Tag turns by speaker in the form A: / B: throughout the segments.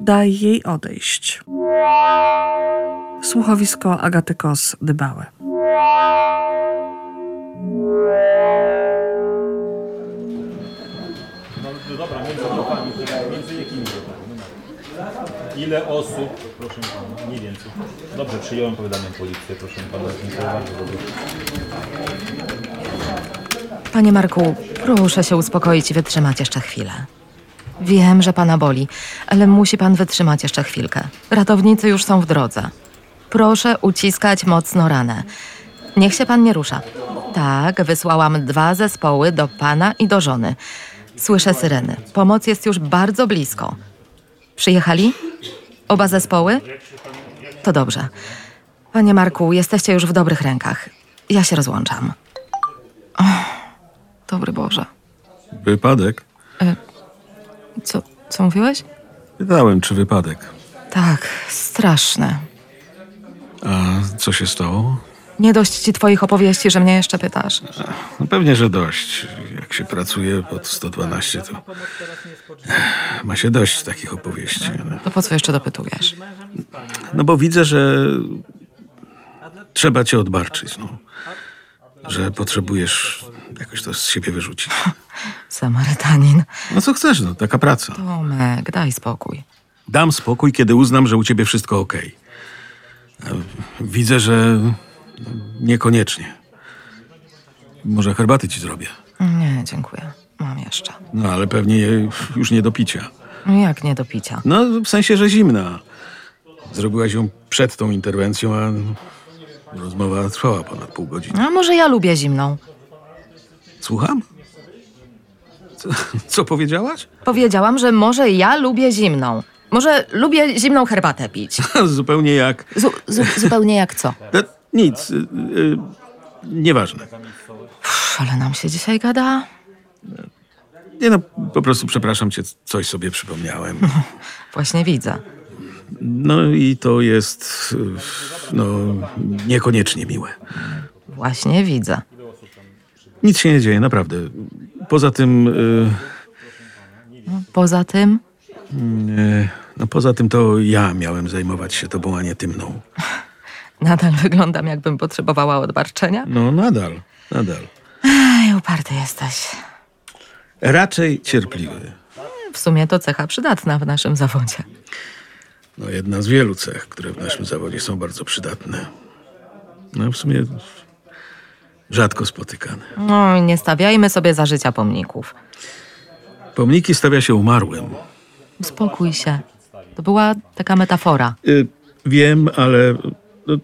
A: Daj jej odejść. Słuchowisko Agaty Kos Dybałe.
B: No dobra, między grupami, między jakimi grupami? No dobra. Ile osób, proszę pana, mniej więcej. Dobrze, przyjąłem powiadamiam policję, proszę pana, dziękuję bardzo.
C: Panie Marku, proszę się uspokoić i wytrzymać jeszcze chwilę. Wiem, że pana boli, ale musi pan wytrzymać jeszcze chwilkę. Ratownicy już są w drodze. Proszę uciskać mocno ranę. Niech się pan nie rusza. Tak, wysłałam dwa zespoły do pana i do żony. Słyszę syreny. Pomoc jest już bardzo blisko. Przyjechali? Oba zespoły? To dobrze. Panie Marku, jesteście już w dobrych rękach. Ja się rozłączam. Dobry Boże.
D: Wypadek?
C: Co, co mówiłeś?
D: Pytałem, czy wypadek.
C: Tak, straszne.
D: A co się stało?
C: Nie dość ci twoich opowieści, że mnie jeszcze pytasz.
D: No pewnie, że dość. Jak się pracuje pod 112, to Ech, ma się dość takich opowieści. ale-
C: To po co jeszcze dopytujesz?
D: No bo widzę, że trzeba cię odbarczyć, no. Że potrzebujesz jakoś to z siebie wyrzucić.
C: Samarytanin.
D: No co chcesz, no, taka praca.
C: Tomek, daj spokój.
D: Dam spokój, kiedy uznam, że u ciebie wszystko ok. Widzę, że niekoniecznie. Może herbaty ci zrobię.
C: Nie, dziękuję. Mam jeszcze.
D: No ale pewnie jej już nie do picia.
C: Jak nie do picia?
D: No w sensie, że zimna. Zrobiłaś ją przed tą interwencją, a rozmowa trwała ponad pół godziny.
C: A może ja lubię zimną?
D: Słucham? Co, co powiedziałaś?
C: Powiedziałam, że może ja lubię zimną. Może lubię zimną herbatę pić.
D: Zupełnie jak.
C: Zu- zu- zupełnie jak co.
D: No, nic. Y, y, nieważne.
C: Pff, ale nam się dzisiaj gada.
D: Nie no, po prostu przepraszam cię, coś sobie przypomniałem.
C: Właśnie widzę.
D: No i to jest, y, no, niekoniecznie miłe.
C: Właśnie widzę.
D: Nic się nie dzieje, naprawdę. Poza tym, y,
C: Poza tym,
D: y, no poza tym to ja miałem zajmować się tobą, a nie ty mną.
C: nadal wyglądam, jakbym potrzebowała odbarczenia.
D: No nadal, nadal.
C: Ej, uparty jesteś.
D: Raczej cierpliwy.
C: W sumie to cecha przydatna w naszym zawodzie.
D: No jedna z wielu cech, które w naszym zawodzie są bardzo przydatne. No w sumie rzadko spotykane.
C: No i nie stawiajmy sobie za życia pomników.
D: Pomniki stawia się umarłym.
C: Uspokój się. To była taka metafora.
D: Y, wiem, ale no,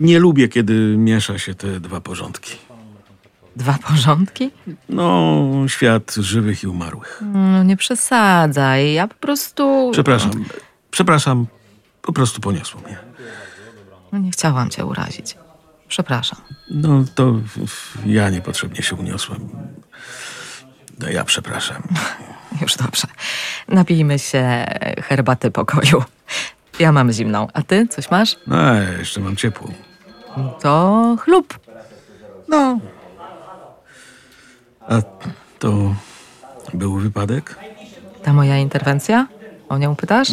D: nie lubię, kiedy miesza się te dwa porządki.
C: Dwa porządki?
D: No, świat żywych i umarłych.
C: No nie przesadzaj, ja po prostu...
D: Przepraszam, przepraszam, po prostu poniosło mnie.
C: No, nie chciałam cię urazić. Przepraszam.
D: No to w- w- ja niepotrzebnie się uniosłem. No ja przepraszam.
C: Już dobrze. Napijmy się herbaty pokoju. Ja mam zimną, a ty coś masz?
D: No, a ja jeszcze mam ciepło.
C: To chlub.
D: No. A to był wypadek?
C: Ta moja interwencja? O nią pytasz?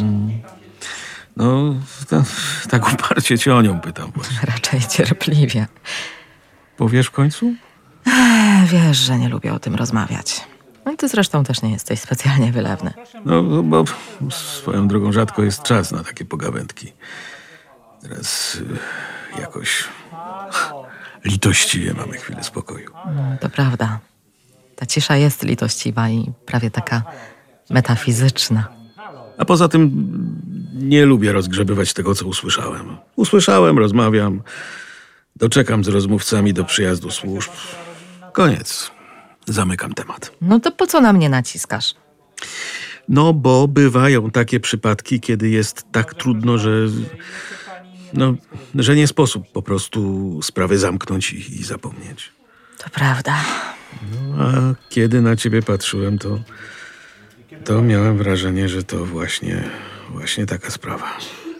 D: No, ta, tak uparcie cię o nią pytam. właśnie.
C: Raczej cierpliwie.
D: Powiesz w końcu?
C: E, Wiesz, że nie lubię o tym rozmawiać. No i ty zresztą też nie jesteś specjalnie wylewny.
D: No, bo swoją drogą rzadko jest czas na takie pogawędki. Teraz y, jakoś litościwie mamy chwilę spokoju.
C: No, to prawda. Ta cisza jest litościwa i prawie taka metafizyczna.
D: A poza tym mm, nie lubię rozgrzebywać tego, co usłyszałem. Usłyszałem, rozmawiam, doczekam z rozmówcami do przyjazdu służb. Koniec. Zamykam temat.
C: No to po co na mnie naciskasz?
D: No, bo bywają takie przypadki, kiedy jest tak trudno, że. No, że nie sposób po prostu sprawy zamknąć i, i zapomnieć.
C: To prawda.
D: No, a kiedy na ciebie patrzyłem, to. to miałem wrażenie, że to właśnie. właśnie taka sprawa.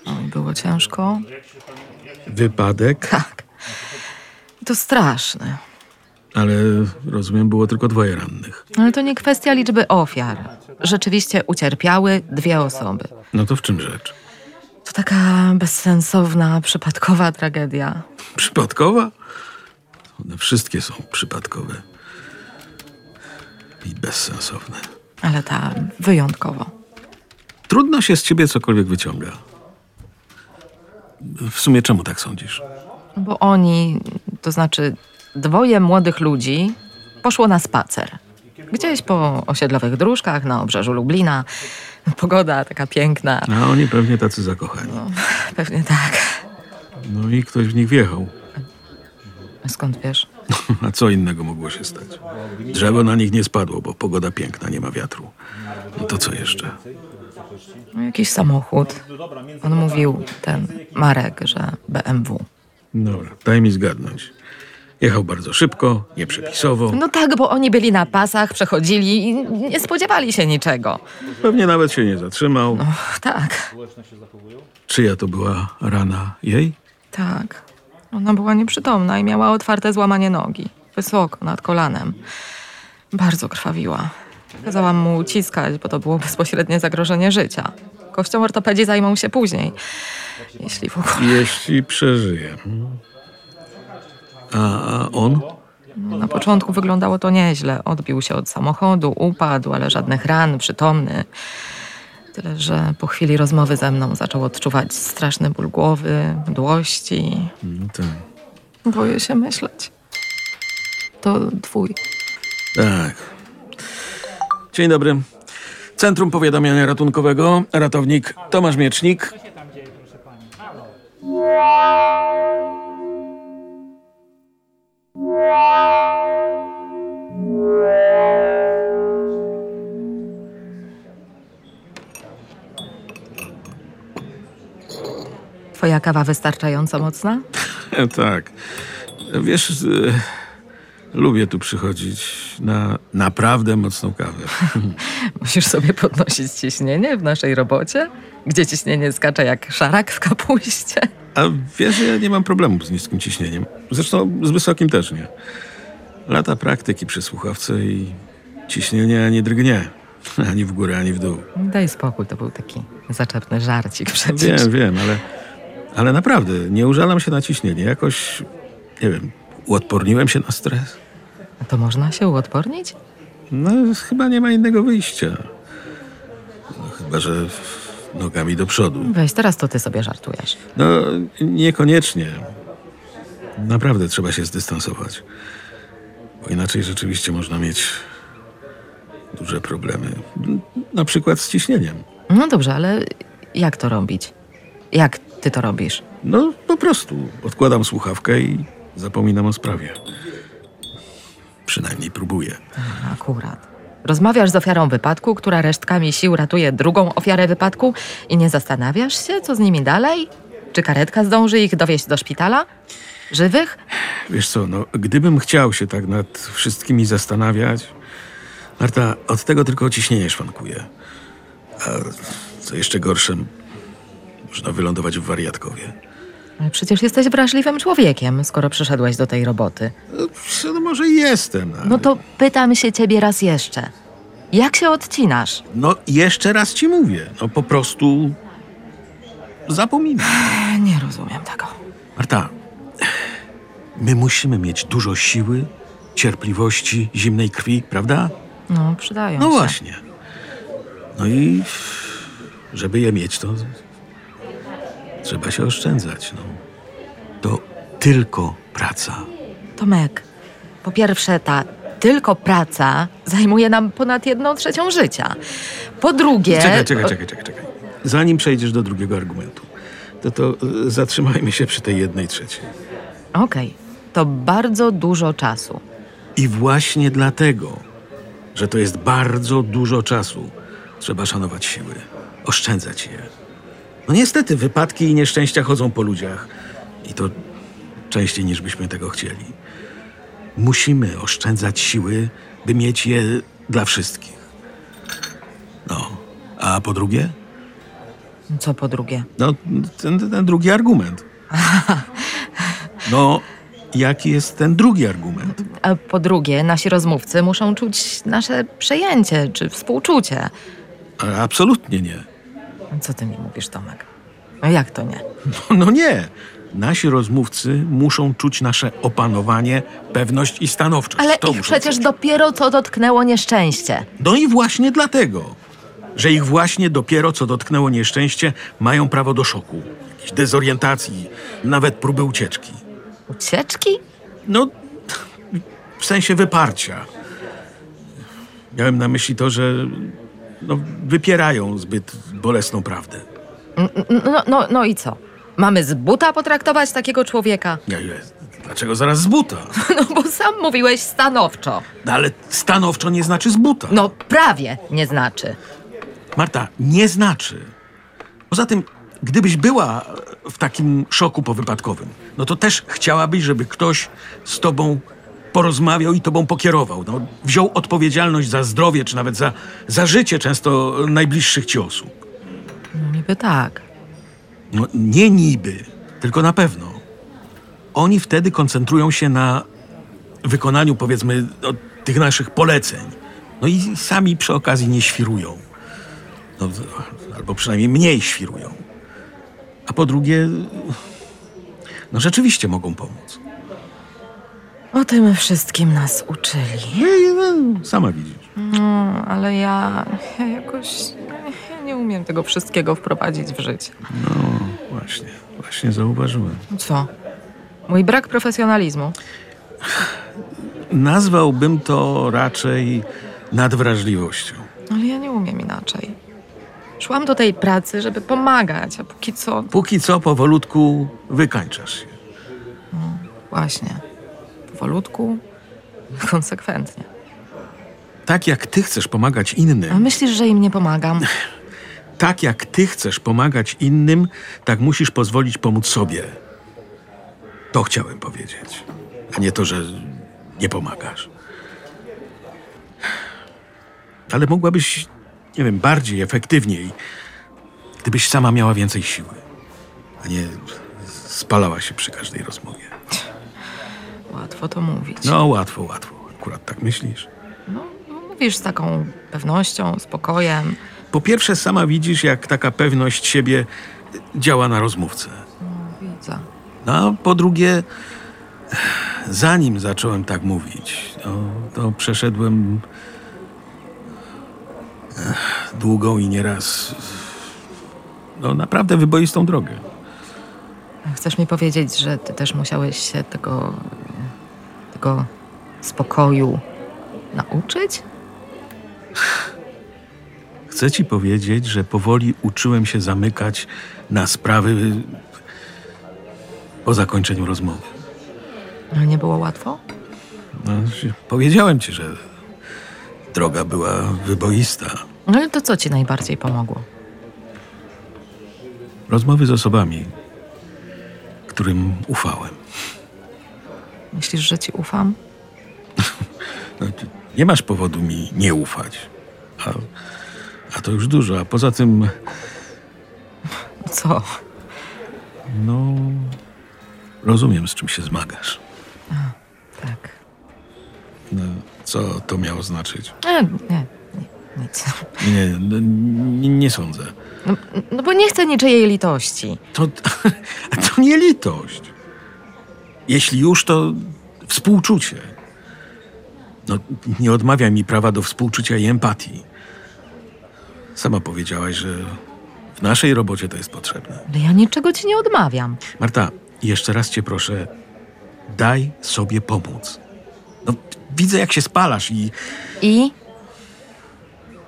C: Oj, było ciężko.
D: Wypadek?
C: Tak. To straszne.
D: Ale rozumiem, było tylko dwoje rannych.
C: Ale to nie kwestia liczby ofiar. Rzeczywiście ucierpiały dwie osoby.
D: No to w czym rzecz?
C: To taka bezsensowna, przypadkowa tragedia.
D: Przypadkowa? One wszystkie są przypadkowe. I bezsensowne.
C: Ale ta wyjątkowo.
D: Trudno się z ciebie cokolwiek wyciąga. W sumie czemu tak sądzisz?
C: No Bo oni, to znaczy dwoje młodych ludzi, poszło na spacer. Gdzieś po osiedlowych dróżkach na obrzeżu Lublina. Pogoda taka piękna.
D: A oni pewnie tacy zakochani.
C: Pewnie tak.
D: No i ktoś w nich wjechał.
C: Skąd wiesz?
D: A co innego mogło się stać? Drzewo na nich nie spadło, bo pogoda piękna, nie ma wiatru. No to co jeszcze?
C: No, jakiś samochód. On mówił, ten Marek, że BMW.
D: Dobra, daj mi zgadnąć. Jechał bardzo szybko, nieprzepisowo.
C: No tak, bo oni byli na pasach, przechodzili i nie spodziewali się niczego.
D: Pewnie nawet się nie zatrzymał.
C: Och, tak,
D: Czyja to była rana jej?
C: tak. Ona była nieprzytomna i miała otwarte złamanie nogi. Wysoko, nad kolanem. Bardzo krwawiła. Kazałam mu uciskać, bo to było bezpośrednie zagrożenie życia. Kością ortopedzi zajmą się później. Jeśli w ogóle.
D: Jeśli przeżyje. Hmm. A a on?
C: Na początku wyglądało to nieźle. Odbił się od samochodu, upadł, ale żadnych ran, przytomny. Tyle, że po chwili rozmowy ze mną zaczął odczuwać straszny ból głowy, mdłości.
D: No tak.
C: Boję się myśleć. To twój.
D: Tak. Dzień dobry. Centrum Powiadamiania Ratunkowego, ratownik Tomasz Miecznik.
C: Twoja kawa wystarczająco mocna?
D: Tak. Wiesz, e, lubię tu przychodzić na naprawdę mocną kawę.
C: Musisz sobie podnosić ciśnienie w naszej robocie, gdzie ciśnienie skacze jak szarak w kapuście.
D: A wiesz, ja nie mam problemu z niskim ciśnieniem. Zresztą z wysokim też nie. Lata praktyki przy słuchawce i ciśnienie nie drgnie. Ani w górę, ani w dół.
C: Daj spokój, to był taki zaczepny żarcik przecież.
D: Wiem, wiem, ale, ale naprawdę nie użalam się na ciśnienie. Jakoś, nie wiem, uodporniłem się na stres.
C: To można się uodpornić?
D: No, chyba nie ma innego wyjścia. No, chyba, że nogami do przodu.
C: Weź, teraz to ty sobie żartujesz.
D: No, niekoniecznie. Naprawdę trzeba się zdystansować. Bo inaczej rzeczywiście można mieć duże problemy. Na przykład z ciśnieniem.
C: No dobrze, ale jak to robić? Jak ty to robisz?
D: No, po prostu odkładam słuchawkę i zapominam o sprawie. Przynajmniej próbuję.
C: Akurat. Rozmawiasz z ofiarą wypadku, która resztkami sił ratuje drugą ofiarę wypadku i nie zastanawiasz się, co z nimi dalej? Czy karetka zdąży ich dowieść do szpitala? Żywych?
D: Wiesz co, no, gdybym chciał się tak nad wszystkimi zastanawiać, Marta, od tego tylko ciśnienie szwankuje. A co jeszcze gorsze, można wylądować w wariatkowie.
C: Ale Przecież jesteś wrażliwym człowiekiem, skoro przyszedłeś do tej roboty.
D: No, psz, no może jestem, ale...
C: No to pytam się ciebie raz jeszcze. Jak się odcinasz?
D: No jeszcze raz ci mówię, no po prostu zapominam.
C: Nie rozumiem tego.
D: Marta, my musimy mieć dużo siły, cierpliwości, zimnej krwi, prawda?
C: No, przydają
D: No
C: się.
D: właśnie. No i żeby je mieć, to trzeba się oszczędzać. No. To tylko praca.
C: Tomek, po pierwsze ta tylko praca zajmuje nam ponad jedną trzecią życia. Po drugie...
D: Czekaj, czekaj, czekaj, czekaj, czekaj. Zanim przejdziesz do drugiego argumentu, to, to y, zatrzymajmy się przy tej jednej trzeciej.
C: Okej, to bardzo dużo czasu.
D: I właśnie dlatego, że to jest bardzo dużo czasu, trzeba szanować siły, oszczędzać je. No niestety, wypadki i nieszczęścia chodzą po ludziach i to częściej niż byśmy tego chcieli. Musimy oszczędzać siły, by mieć je dla wszystkich. No, a po drugie?
C: Co po drugie?
D: No, ten, ten drugi argument. No, jaki jest ten drugi argument?
C: a po drugie nasi rozmówcy muszą czuć nasze przejęcie czy współczucie.
D: A Absolutnie nie.
C: Co ty mi mówisz, Tomek? No jak to nie?
D: No nie. Nasi rozmówcy muszą czuć nasze opanowanie, pewność i stanowczość.
C: Ale
D: to
C: ich
D: muszą
C: przecież
D: czuć.
C: dopiero co dotknęło nieszczęście.
D: No i właśnie dlatego, że ich właśnie dopiero co dotknęło nieszczęście, mają prawo do szoku, jakiejś dezorientacji, nawet próby ucieczki.
C: Ucieczki?
D: No, w sensie wyparcia. Miałem na myśli to, że no, wypierają zbyt bolesną prawdę.
C: No, no, no i co? Mamy z buta potraktować takiego człowieka?
D: Ja, ja, dlaczego zaraz z buta?
C: No bo sam mówiłeś stanowczo.
D: No, ale stanowczo nie znaczy z buta.
C: No prawie nie znaczy.
D: Marta, nie znaczy. Poza tym, gdybyś była w takim szoku powypadkowym, no to też chciałabyś, żeby ktoś z tobą porozmawiał i tobą pokierował. No, wziął odpowiedzialność za zdrowie, czy nawet za, za życie często najbliższych ci osób.
C: Niby tak.
D: No, nie niby, tylko na pewno. Oni wtedy koncentrują się na wykonaniu, powiedzmy, no, tych naszych poleceń. No i sami przy okazji nie świrują. No, albo przynajmniej mniej świrują. A po drugie, no rzeczywiście mogą pomóc.
C: O tym wszystkim nas uczyli.
D: No i no, sama widzisz.
C: No, ale ja, ja jakoś ja nie umiem tego wszystkiego wprowadzić w życie.
D: Właśnie, właśnie zauważyłem.
C: Co? Mój brak profesjonalizmu.
D: Nazwałbym to raczej nadwrażliwością.
C: Ale ja nie umiem inaczej. Szłam do tej pracy, żeby pomagać, a póki co
D: Póki co powolutku wykańczasz się.
C: właśnie. Powolutku, konsekwentnie.
D: Tak jak ty chcesz pomagać
C: A
D: innym,
C: myślisz, że im nie pomagam?
D: tak jak ty chcesz pomagać innym, tak musisz pozwolić pomóc sobie. To chciałem powiedzieć, a nie to, że nie pomagasz. Ale mogłabyś, nie wiem, bardziej efektywniej, gdybyś sama miała więcej siły, a nie spalała się przy każdej rozmowie.
C: Łatwo to mówić.
D: No, łatwo, łatwo. Akurat tak myślisz.
C: No, no, mówisz z taką pewnością, spokojem.
D: Po pierwsze, sama widzisz, jak taka pewność siebie działa na rozmówcę.
C: Widzę.
D: No, a po drugie, zanim zacząłem tak mówić, no, to przeszedłem eh, długą i nieraz no, naprawdę wyboistą drogę.
C: Chcesz mi powiedzieć, że ty też musiałeś się tego, tego spokoju nauczyć?
D: Chcę ci powiedzieć, że powoli uczyłem się zamykać na sprawy po zakończeniu rozmowy.
C: Ale nie było łatwo?
D: No, się- powiedziałem ci, że droga była wyboista.
C: No ale to co ci najbardziej pomogło?
D: Rozmowy z osobami, którym ufałem.
C: Myślisz, że ci ufam?
D: No, ty nie masz powodu mi nie ufać. A, a to już dużo. A poza tym,
C: Co?
D: no. Rozumiem, z czym się zmagasz.
C: Tak.
D: No, co to miało znaczyć?
C: E, nie, nie, nic.
D: Nie, no, nie, nie sądzę.
C: No, no bo nie chcę niczyjej litości.
D: To, to nie litość. Jeśli już, to współczucie. No, nie odmawiaj mi prawa do współczucia i empatii. Sama powiedziałaś, że w naszej robocie to jest potrzebne.
C: Ale ja niczego ci nie odmawiam.
D: Marta, jeszcze raz cię proszę, daj sobie pomóc. No, widzę, jak się spalasz i,
C: I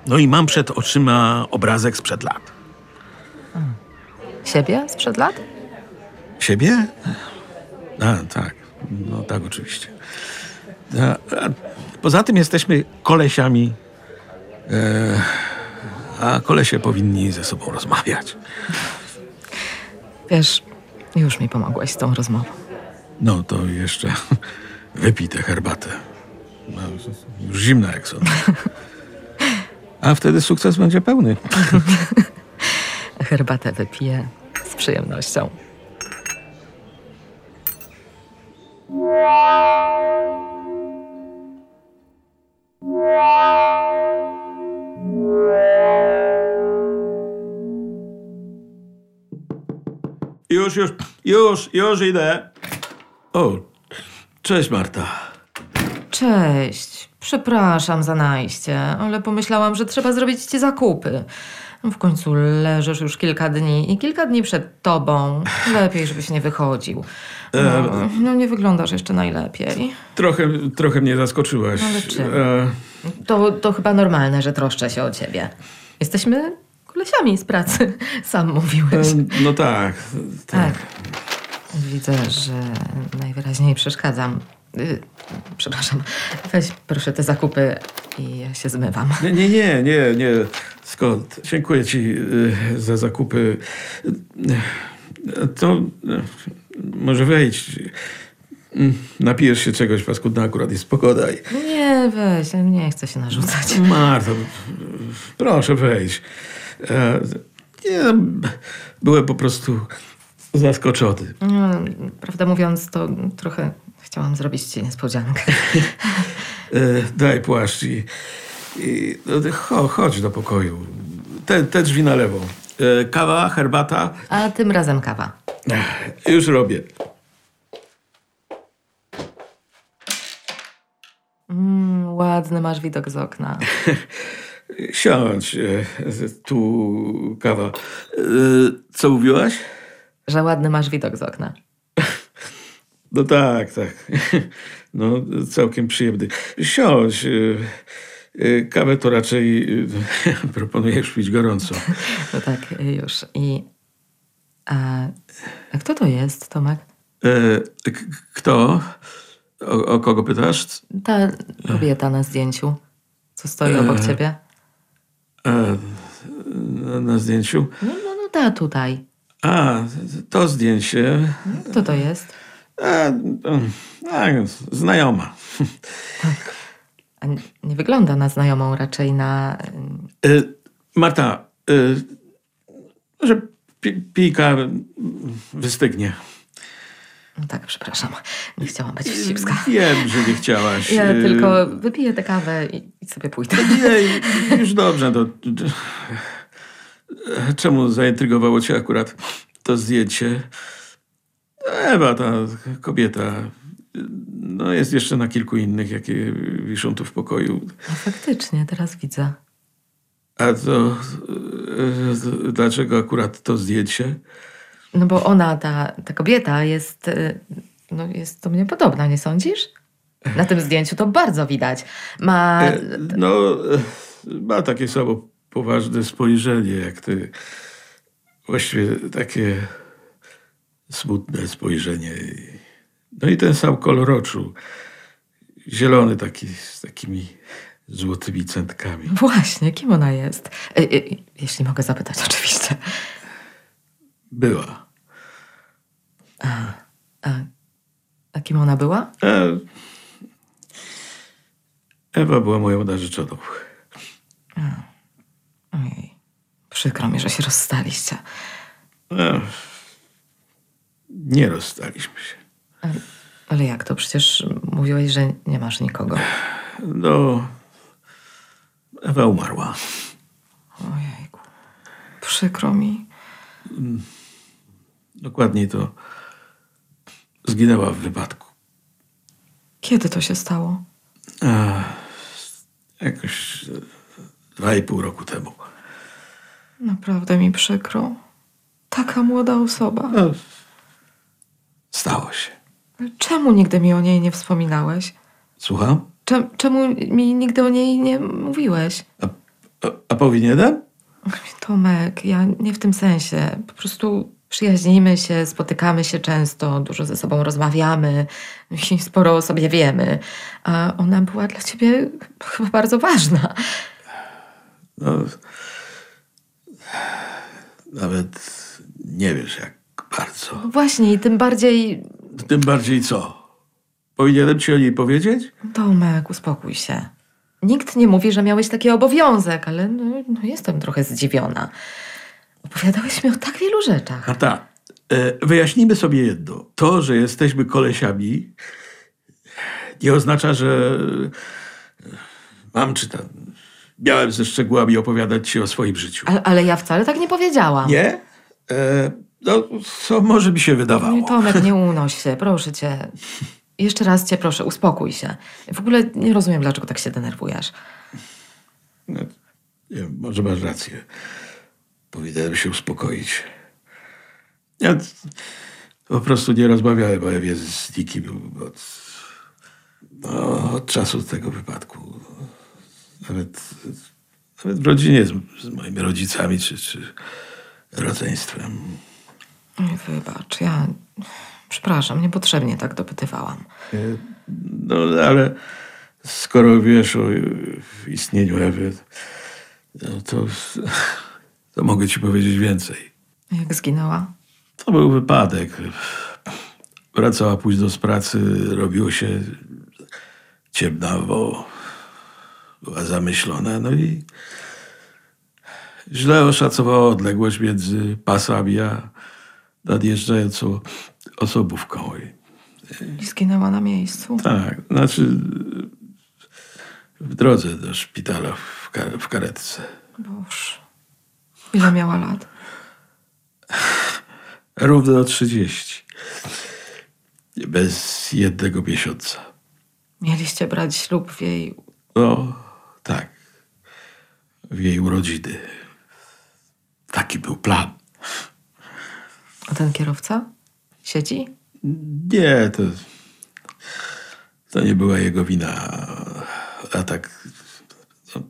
D: no i mam przed oczyma obrazek sprzed lat.
C: siebie sprzed lat?
D: Siebie? A, tak. No tak, oczywiście. A, a, poza tym jesteśmy kolesiami, e, a kolesie powinni ze sobą rozmawiać.
C: Wiesz, już mi pomogłeś z tą rozmową.
D: No to jeszcze wypij tę herbatę. No, już zimna, jak sądzę. A wtedy sukces będzie pełny.
C: Herbatę wypiję z przyjemnością.
D: Już, już, już, już idę. O, cześć Marta.
C: Cześć. Przepraszam za najście, ale pomyślałam, że trzeba zrobić ci zakupy. W końcu leżysz już kilka dni i kilka dni przed tobą. Lepiej, żebyś nie wychodził. No, no nie wyglądasz jeszcze najlepiej.
D: Trochę, trochę mnie zaskoczyłaś.
C: No, Ale czym?
D: E,
C: To, to chyba normalne, że troszczę się o ciebie. Jesteśmy kolesiami z pracy, sam
D: e,
C: mówiłeś.
D: no tak, tak.
C: Tak. Widzę, że najwyraźniej przeszkadzam. Y, Przepraszam. Weź proszę te zakupy i ja się zmywam.
D: Nie, nie, nie, nie, nie. Skąd? Dziękuję ci y, za zakupy. Y, To y, może wejdź. Mm, Napijesz się czegoś, paskudna akurat jest pogoda. i-
C: Nie, weź, nie chcę się narzucać.
D: Marto, y, proszę wejść. E, Nie, byłem po prostu zaskoczony.
C: Mm, Prawdę mówiąc, to trochę chciałam zrobić ci niespodziankę.
D: E, Daj płaszcz i, i no, cho, chodź do pokoju. Te, te drzwi na lewo. E, Kawa, herbata.
C: A tym razem kawa.
D: Ech, Już robię.
C: Mm, ładny masz widok z okna.
D: Siądź. e, Tu kawa. E, Co mówiłaś?
C: Że ładny masz widok z okna.
D: No tak, tak. No, całkiem przyjemny. Siądź. e, e, Kawę to raczej e, proponujesz pić gorąco.
C: No tak, już. I. A, a kto to jest, Tomek?
D: E, k- Kto? O, o kogo pytasz?
C: Ta kobieta na zdjęciu, co stoi obok ciebie.
D: E, na- Na zdjęciu?
C: No, no, no ta tutaj. No,
D: A, to zdjęcie.
C: Kto to jest?
D: E, e, znajoma.
C: A nie- nie wygląda na znajomą, raczej na.
D: E, Marta, e, może pi- pijka wystygnie.
C: No tak, przepraszam. Nie chciałam być wścibska.
D: Wiem, że nie chciałaś.
C: Ja
D: e,
C: tylko wypiję tę kawę i, i sobie pójdę.
D: Nie, już dobrze. To, czemu zaintrygowało cię akurat to zdjęcie? Ewa, ta kobieta, no jest jeszcze na kilku innych, jakie wiszą tu w pokoju.
C: No faktycznie, teraz widzę.
D: A to e, dlaczego akurat to zdjęcie?
C: No bo ona, ta, ta kobieta jest, y, no jest do mnie podobna, nie sądzisz? Na tym zdjęciu to bardzo widać. Ma...
D: E, No, e, ma takie samo poważne spojrzenie jak ty. Właściwie takie smutne spojrzenie. I- No i ten sam kolor oczu. Zielony taki, z takimi złotymi centkami.
C: Właśnie, kim ona jest? Y, y, jeśli mogę zapytać, oczywiście.
D: Była.
C: A, a kim ona była?
D: E, Ewa była moją narzeczoną.
C: Ojej, przykro mi, że się rozstaliście.
D: E, nie rozstaliśmy się.
C: Ale, ale jak to? Przecież mówiłeś, że nie masz nikogo.
D: No, Ewa umarła.
C: Ojejku, przykro mi.
D: Dokładniej to zginęła w wypadku.
C: Kiedy to się stało?
D: Jakoś e, dwa i pół roku temu.
C: Naprawdę mi przykro. Taka młoda osoba.
D: No, stało się.
C: Czemu nigdy mi o niej nie wspominałeś?
D: Słucham?
C: Czem, czemu mi nigdy o niej nie mówiłeś?
D: A, a, a powinienem?
C: Tomek, ja nie w tym sensie. Po prostu przyjaźnimy się, spotykamy się często, dużo ze sobą rozmawiamy i sporo o sobie wiemy. A ona była dla ciebie chyba bardzo ważna.
D: No, nawet nie wiesz jak bardzo.
C: Właśnie i tym bardziej...
D: Tym bardziej co? Powinienem ci o niej powiedzieć?
C: Tomek, uspokój się. Nikt nie mówi, że miałeś taki obowiązek, ale no, no jestem trochę zdziwiona. Opowiadałeś mi o tak wielu rzeczach.
D: Marta, e, wyjaśnijmy sobie jedno. To, że jesteśmy kolesiami, nie oznacza, że e, mam czy tam miałem ze szczegółami opowiadać ci o swoim życiu.
C: Ale, ale ja wcale tak nie powiedziałam.
D: Nie? E, No, co może mi się wydawało.
C: Tomek, nie unoś się, proszę cię. Jeszcze raz cię proszę, uspokój się. W ogóle nie rozumiem, dlaczego tak się denerwujesz.
D: No, Nie, może masz rację. Powinienem się uspokoić. Ja t- po prostu nie rozmawiałem o Ewie z nikim od, no, od czasu tego wypadku. Nawet, nawet w rodzinie z, z moimi rodzicami czy, czy rodzeństwem.
C: Oj, Wybacz, ja... Przepraszam, niepotrzebnie tak dopytywałam.
D: No ale skoro wiesz o istnieniu Ewy, no to, to mogę ci powiedzieć więcej.
C: Jak zginęła?
D: To był wypadek. Wracała późno z pracy, robiło się ciemnawo, była zamyślona, no i źle oszacowała odległość między pasami a nadjeżdżającą osobówką. I
C: I zginęła na miejscu?
D: tak, znaczy w drodze do szpitala w, kar- w karetce.
C: Boż. Ile miała lat?
D: Równo 30. Bez jednego miesiąca.
C: Mieliście brać ślub w jej...
D: No, tak. W jej urodziny. Taki był plan.
C: A ten kierowca? Siedzi?
D: Nie, to. To nie była jego wina. A tak. No,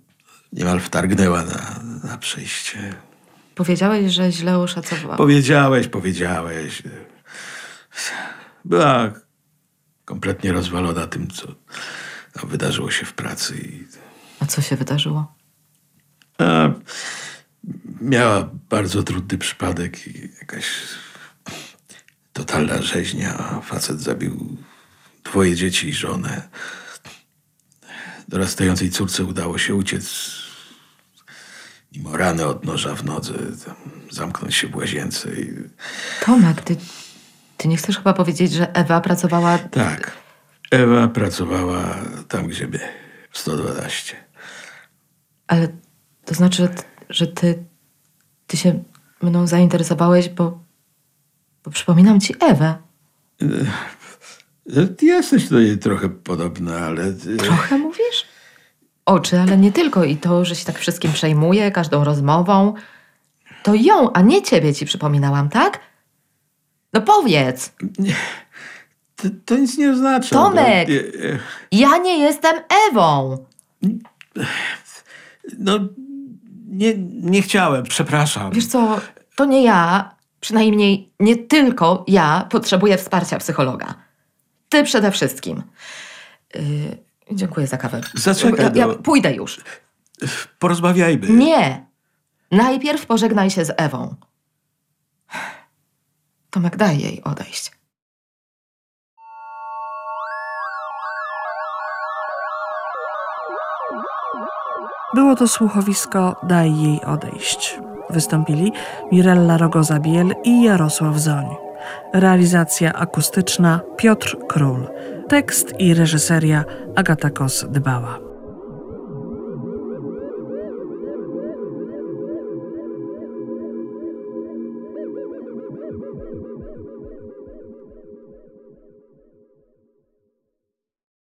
D: niemal wtargnęła na, na przejście.
C: Powiedziałeś, że źle oszacowała.
D: Powiedziałeś, powiedziałeś. Była kompletnie rozwalona tym, co no, wydarzyło się w pracy. I,
C: A co się wydarzyło?
D: a, miała bardzo trudny przypadek i jakaś totalna rzeźnia. Facet zabił dwoje dzieci i żonę. Dorastającej córce udało się uciec mimo rany od noża w nodze, tam, zamknąć się w łazience i
C: Tomek, ty... Ty nie chcesz chyba powiedzieć, że Ewa pracowała...
D: Tak. Ewa pracowała tam, gdzie by. W 112.
C: Ale to znaczy, że, t- że ty, ty się mną zainteresowałeś, bo, bo przypominam ci Ewę.
D: Ty jesteś do niej trochę podobna, ale... ty-
C: Trochę mówisz? Oczy, ale nie tylko. I to, że się tak wszystkim przejmuje, każdą rozmową. To ją, a nie ciebie ci przypominałam, tak? No powiedz,
D: To, to nic nie oznacza.
C: Tomek!
D: No, e, e,
C: ja nie jestem Ewą.
D: no nie, nie chciałem, przepraszam.
C: Wiesz co, to nie ja, przynajmniej nie tylko ja potrzebuję wsparcia psychologa. Ty przede wszystkim. Yy, dziękuję za kawę.
D: Zaczekaj,
C: Ja, ja
D: no.
C: pójdę już.
D: Porozmawiajmy.
C: Nie! Najpierw pożegnaj się z Ewą. Tomek, daj jej odejść.
A: Było to słuchowisko Daj jej odejść. Wystąpili Mirella Rogozabiel i Jarosław Zoń. Realizacja akustyczna Piotr Król. Tekst i reżyseria Agata Kos-Dybała.